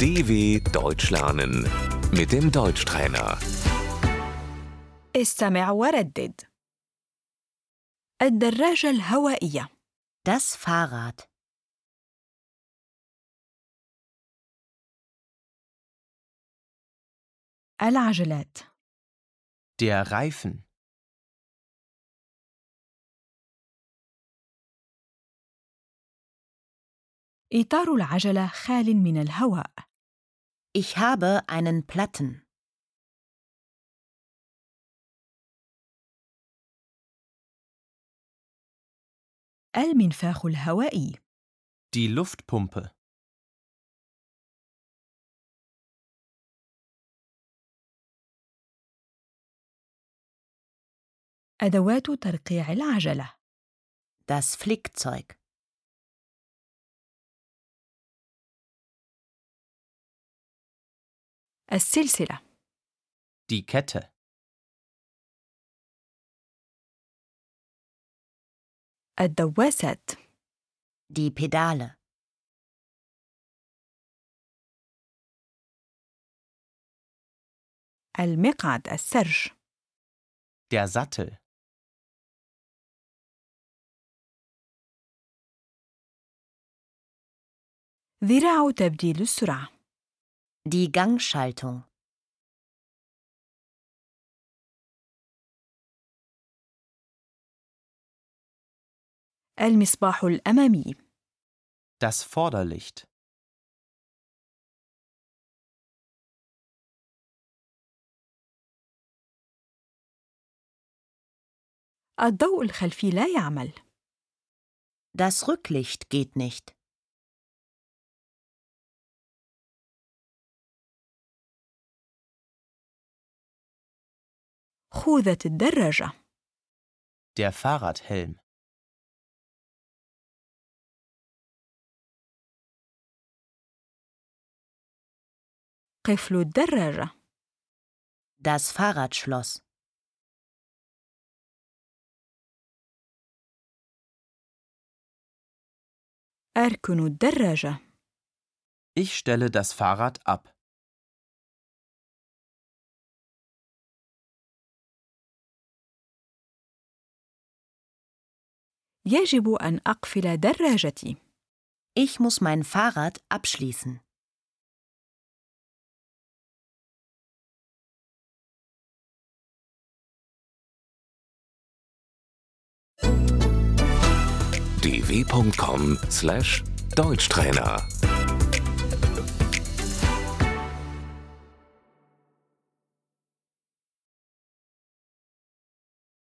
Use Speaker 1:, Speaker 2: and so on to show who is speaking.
Speaker 1: DW Deutsch lernen mit dem Deutschtrainer.
Speaker 2: استمع وردد الدراجة الهوائية
Speaker 3: Das Fahrrad.
Speaker 2: العجلات
Speaker 4: Der Reifen.
Speaker 2: إطار العجلة خال من الهواء
Speaker 3: Ich habe einen Platten.
Speaker 2: المنفاخ الهوائي
Speaker 4: Die Luftpumpe.
Speaker 2: أدوات ترقيع العجلة
Speaker 3: Das Flickzeug.
Speaker 2: السلسلة
Speaker 4: Die Kette.
Speaker 2: الدواسات
Speaker 3: Die Pedale.
Speaker 2: المقعد السرج
Speaker 4: Der Sattel.
Speaker 2: ذراع تبديل السرعة
Speaker 3: Die Gangschaltung.
Speaker 2: المصباح الأمامي
Speaker 4: Das Vorderlicht.
Speaker 2: الضوء الخلفي لا يعمل
Speaker 3: Das Rücklicht geht nicht.
Speaker 2: خوذة الدراجة
Speaker 4: Der Fahrradhelm.
Speaker 2: قفل الدراجة
Speaker 3: Das Fahrradschloss.
Speaker 2: أركن الدراجة
Speaker 4: Ich stelle das Fahrrad ab.
Speaker 2: يجب أن أقفل دراجتي
Speaker 3: Ich muss mein Fahrrad abschließen.
Speaker 1: dw.com/deutschtrainer